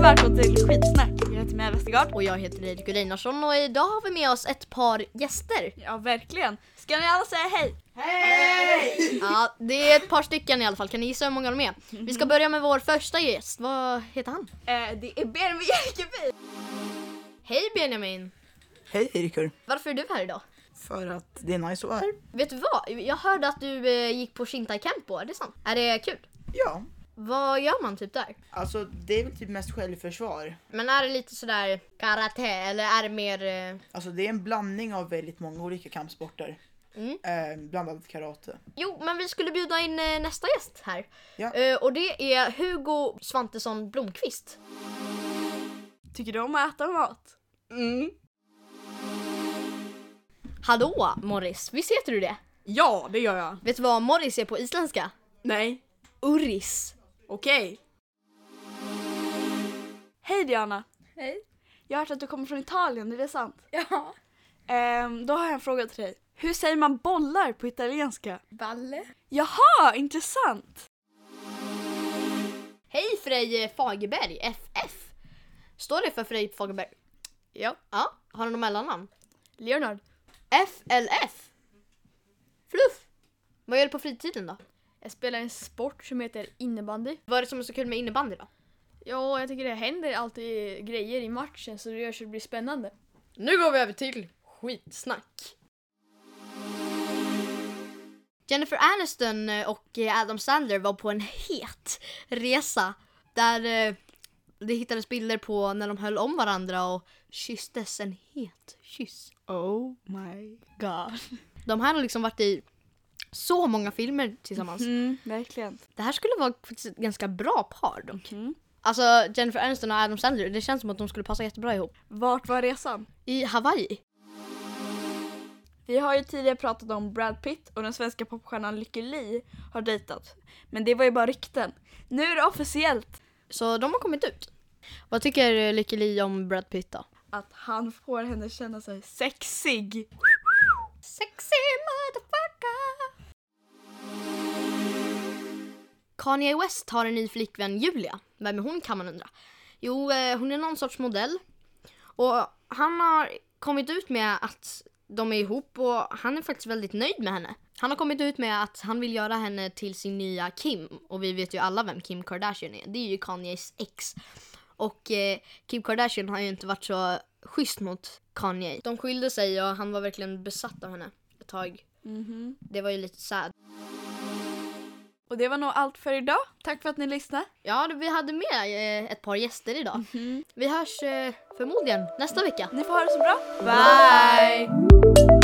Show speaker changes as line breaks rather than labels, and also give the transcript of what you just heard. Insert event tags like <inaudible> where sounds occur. välkomna till Skitsnack. Jag heter Mia Westergaard.
Och jag heter Erik Gullinarsson och idag har vi med oss ett par <laughs> gäster.
Ja, verkligen. Ska ni alla säga hej?
Ja, det är ett par stycken i alla fall. Kan ni gissa hur många de är? Vi ska börja med vår första gäst. Vad heter han?
Eh, det är Benjamin Jerkeby.
Hej Benjamin!
Hej Erikur!
Varför är du här idag?
För att det är nice att vara här.
Vet du vad? Jag hörde att du eh, gick på Shintai Campo, är det sant? Är det kul?
Ja,
Vad gör man typ där?
alltså det är väl typ mest självförsvar.
Men är det lite sådär karate eller är det mer... eh,
Alltså det är en blandning av väldigt många olika kampsporter.
Mm.
Eh, bland annat karate.
Jo, men vi skulle bjuda in eh, nästa gäst här.
Ja.
Eh, Och det är Hugo Svantesson Blomqvist.
Tycker du om att äta mat? Mm.
Hallå Morris, visst heter du det?
Ja, det gör jag.
Vet du vad Morris är på isländska?
Nej.
Urris.
Okej. Hej Diana.
Hej.
Jag har hört att du kommer från Italien, är det sant?
Ja.
Ehm, då har jag en fråga till dig. Hur säger man bollar på italienska?
Balle.
Jaha, intressant.
Hej Frej Fagerberg, FF. Står det för Frej Fagerberg?
Ja.
Ja, har du något mellannamn?
Leonard.
FLF. Fluff. Vad gör du på fritiden då?
Jag spelar en sport som heter innebandy.
Vad är det som är så kul med innebandy då?
Ja, jag tycker det händer alltid grejer i matchen så det gör så det blir spännande.
Nu går vi över till skitsnack. Jennifer Aniston eh, och Adam Sandler var på en het resa där eh, det hittades bilder på när de höll om varandra och kysstes en het kyss.
Oh my god.
De här har liksom varit i så många filmer tillsammans.
Mm, verkligen.
Det här skulle vara faktiskt ett ganska bra par dock.
Mm.
Alltså Jennifer Aniston och Adam Sandler, det känns som att de skulle passa jättebra ihop.
Vart var resan?
I Hawaii.
Vi har ju tidigare pratat om Brad Pitt och den svenska popstjärnan Lykke Li har dejtat. Men det var ju bara rykten. Nu är det officiellt
Så de har kommit ut. Vad tycker eh, Lykke Li om Brad Pitt då?
att han får henne känna sig sexig.
Sexy motherfucker! Kanye West har en ny flickvän Julia. Vem är hon kan man undra. Jo, eh, hon är någon sorts modell. Och han har kommit ut med att de är ihop och han är faktiskt väldigt nöjd med henne. Han har kommit ut med att han vill göra henne till sin nya Kim. Och vi vet ju alla vem Kim Kardashian är. Det är ju Kanyes ex. Och eh, Kim Kardashian har ju inte varit så schysst mot Kanye. De skilde sig och han var verkligen besatt av henne ett tag. Det var ju lite sad.
Och det var nog allt för idag. Tack för att ni lyssnade.
Ja, vi hade med eh, ett par gäster idag. Vi hörs eh, förmodligen nästa vecka.
Ni får ha det så bra.
Bye!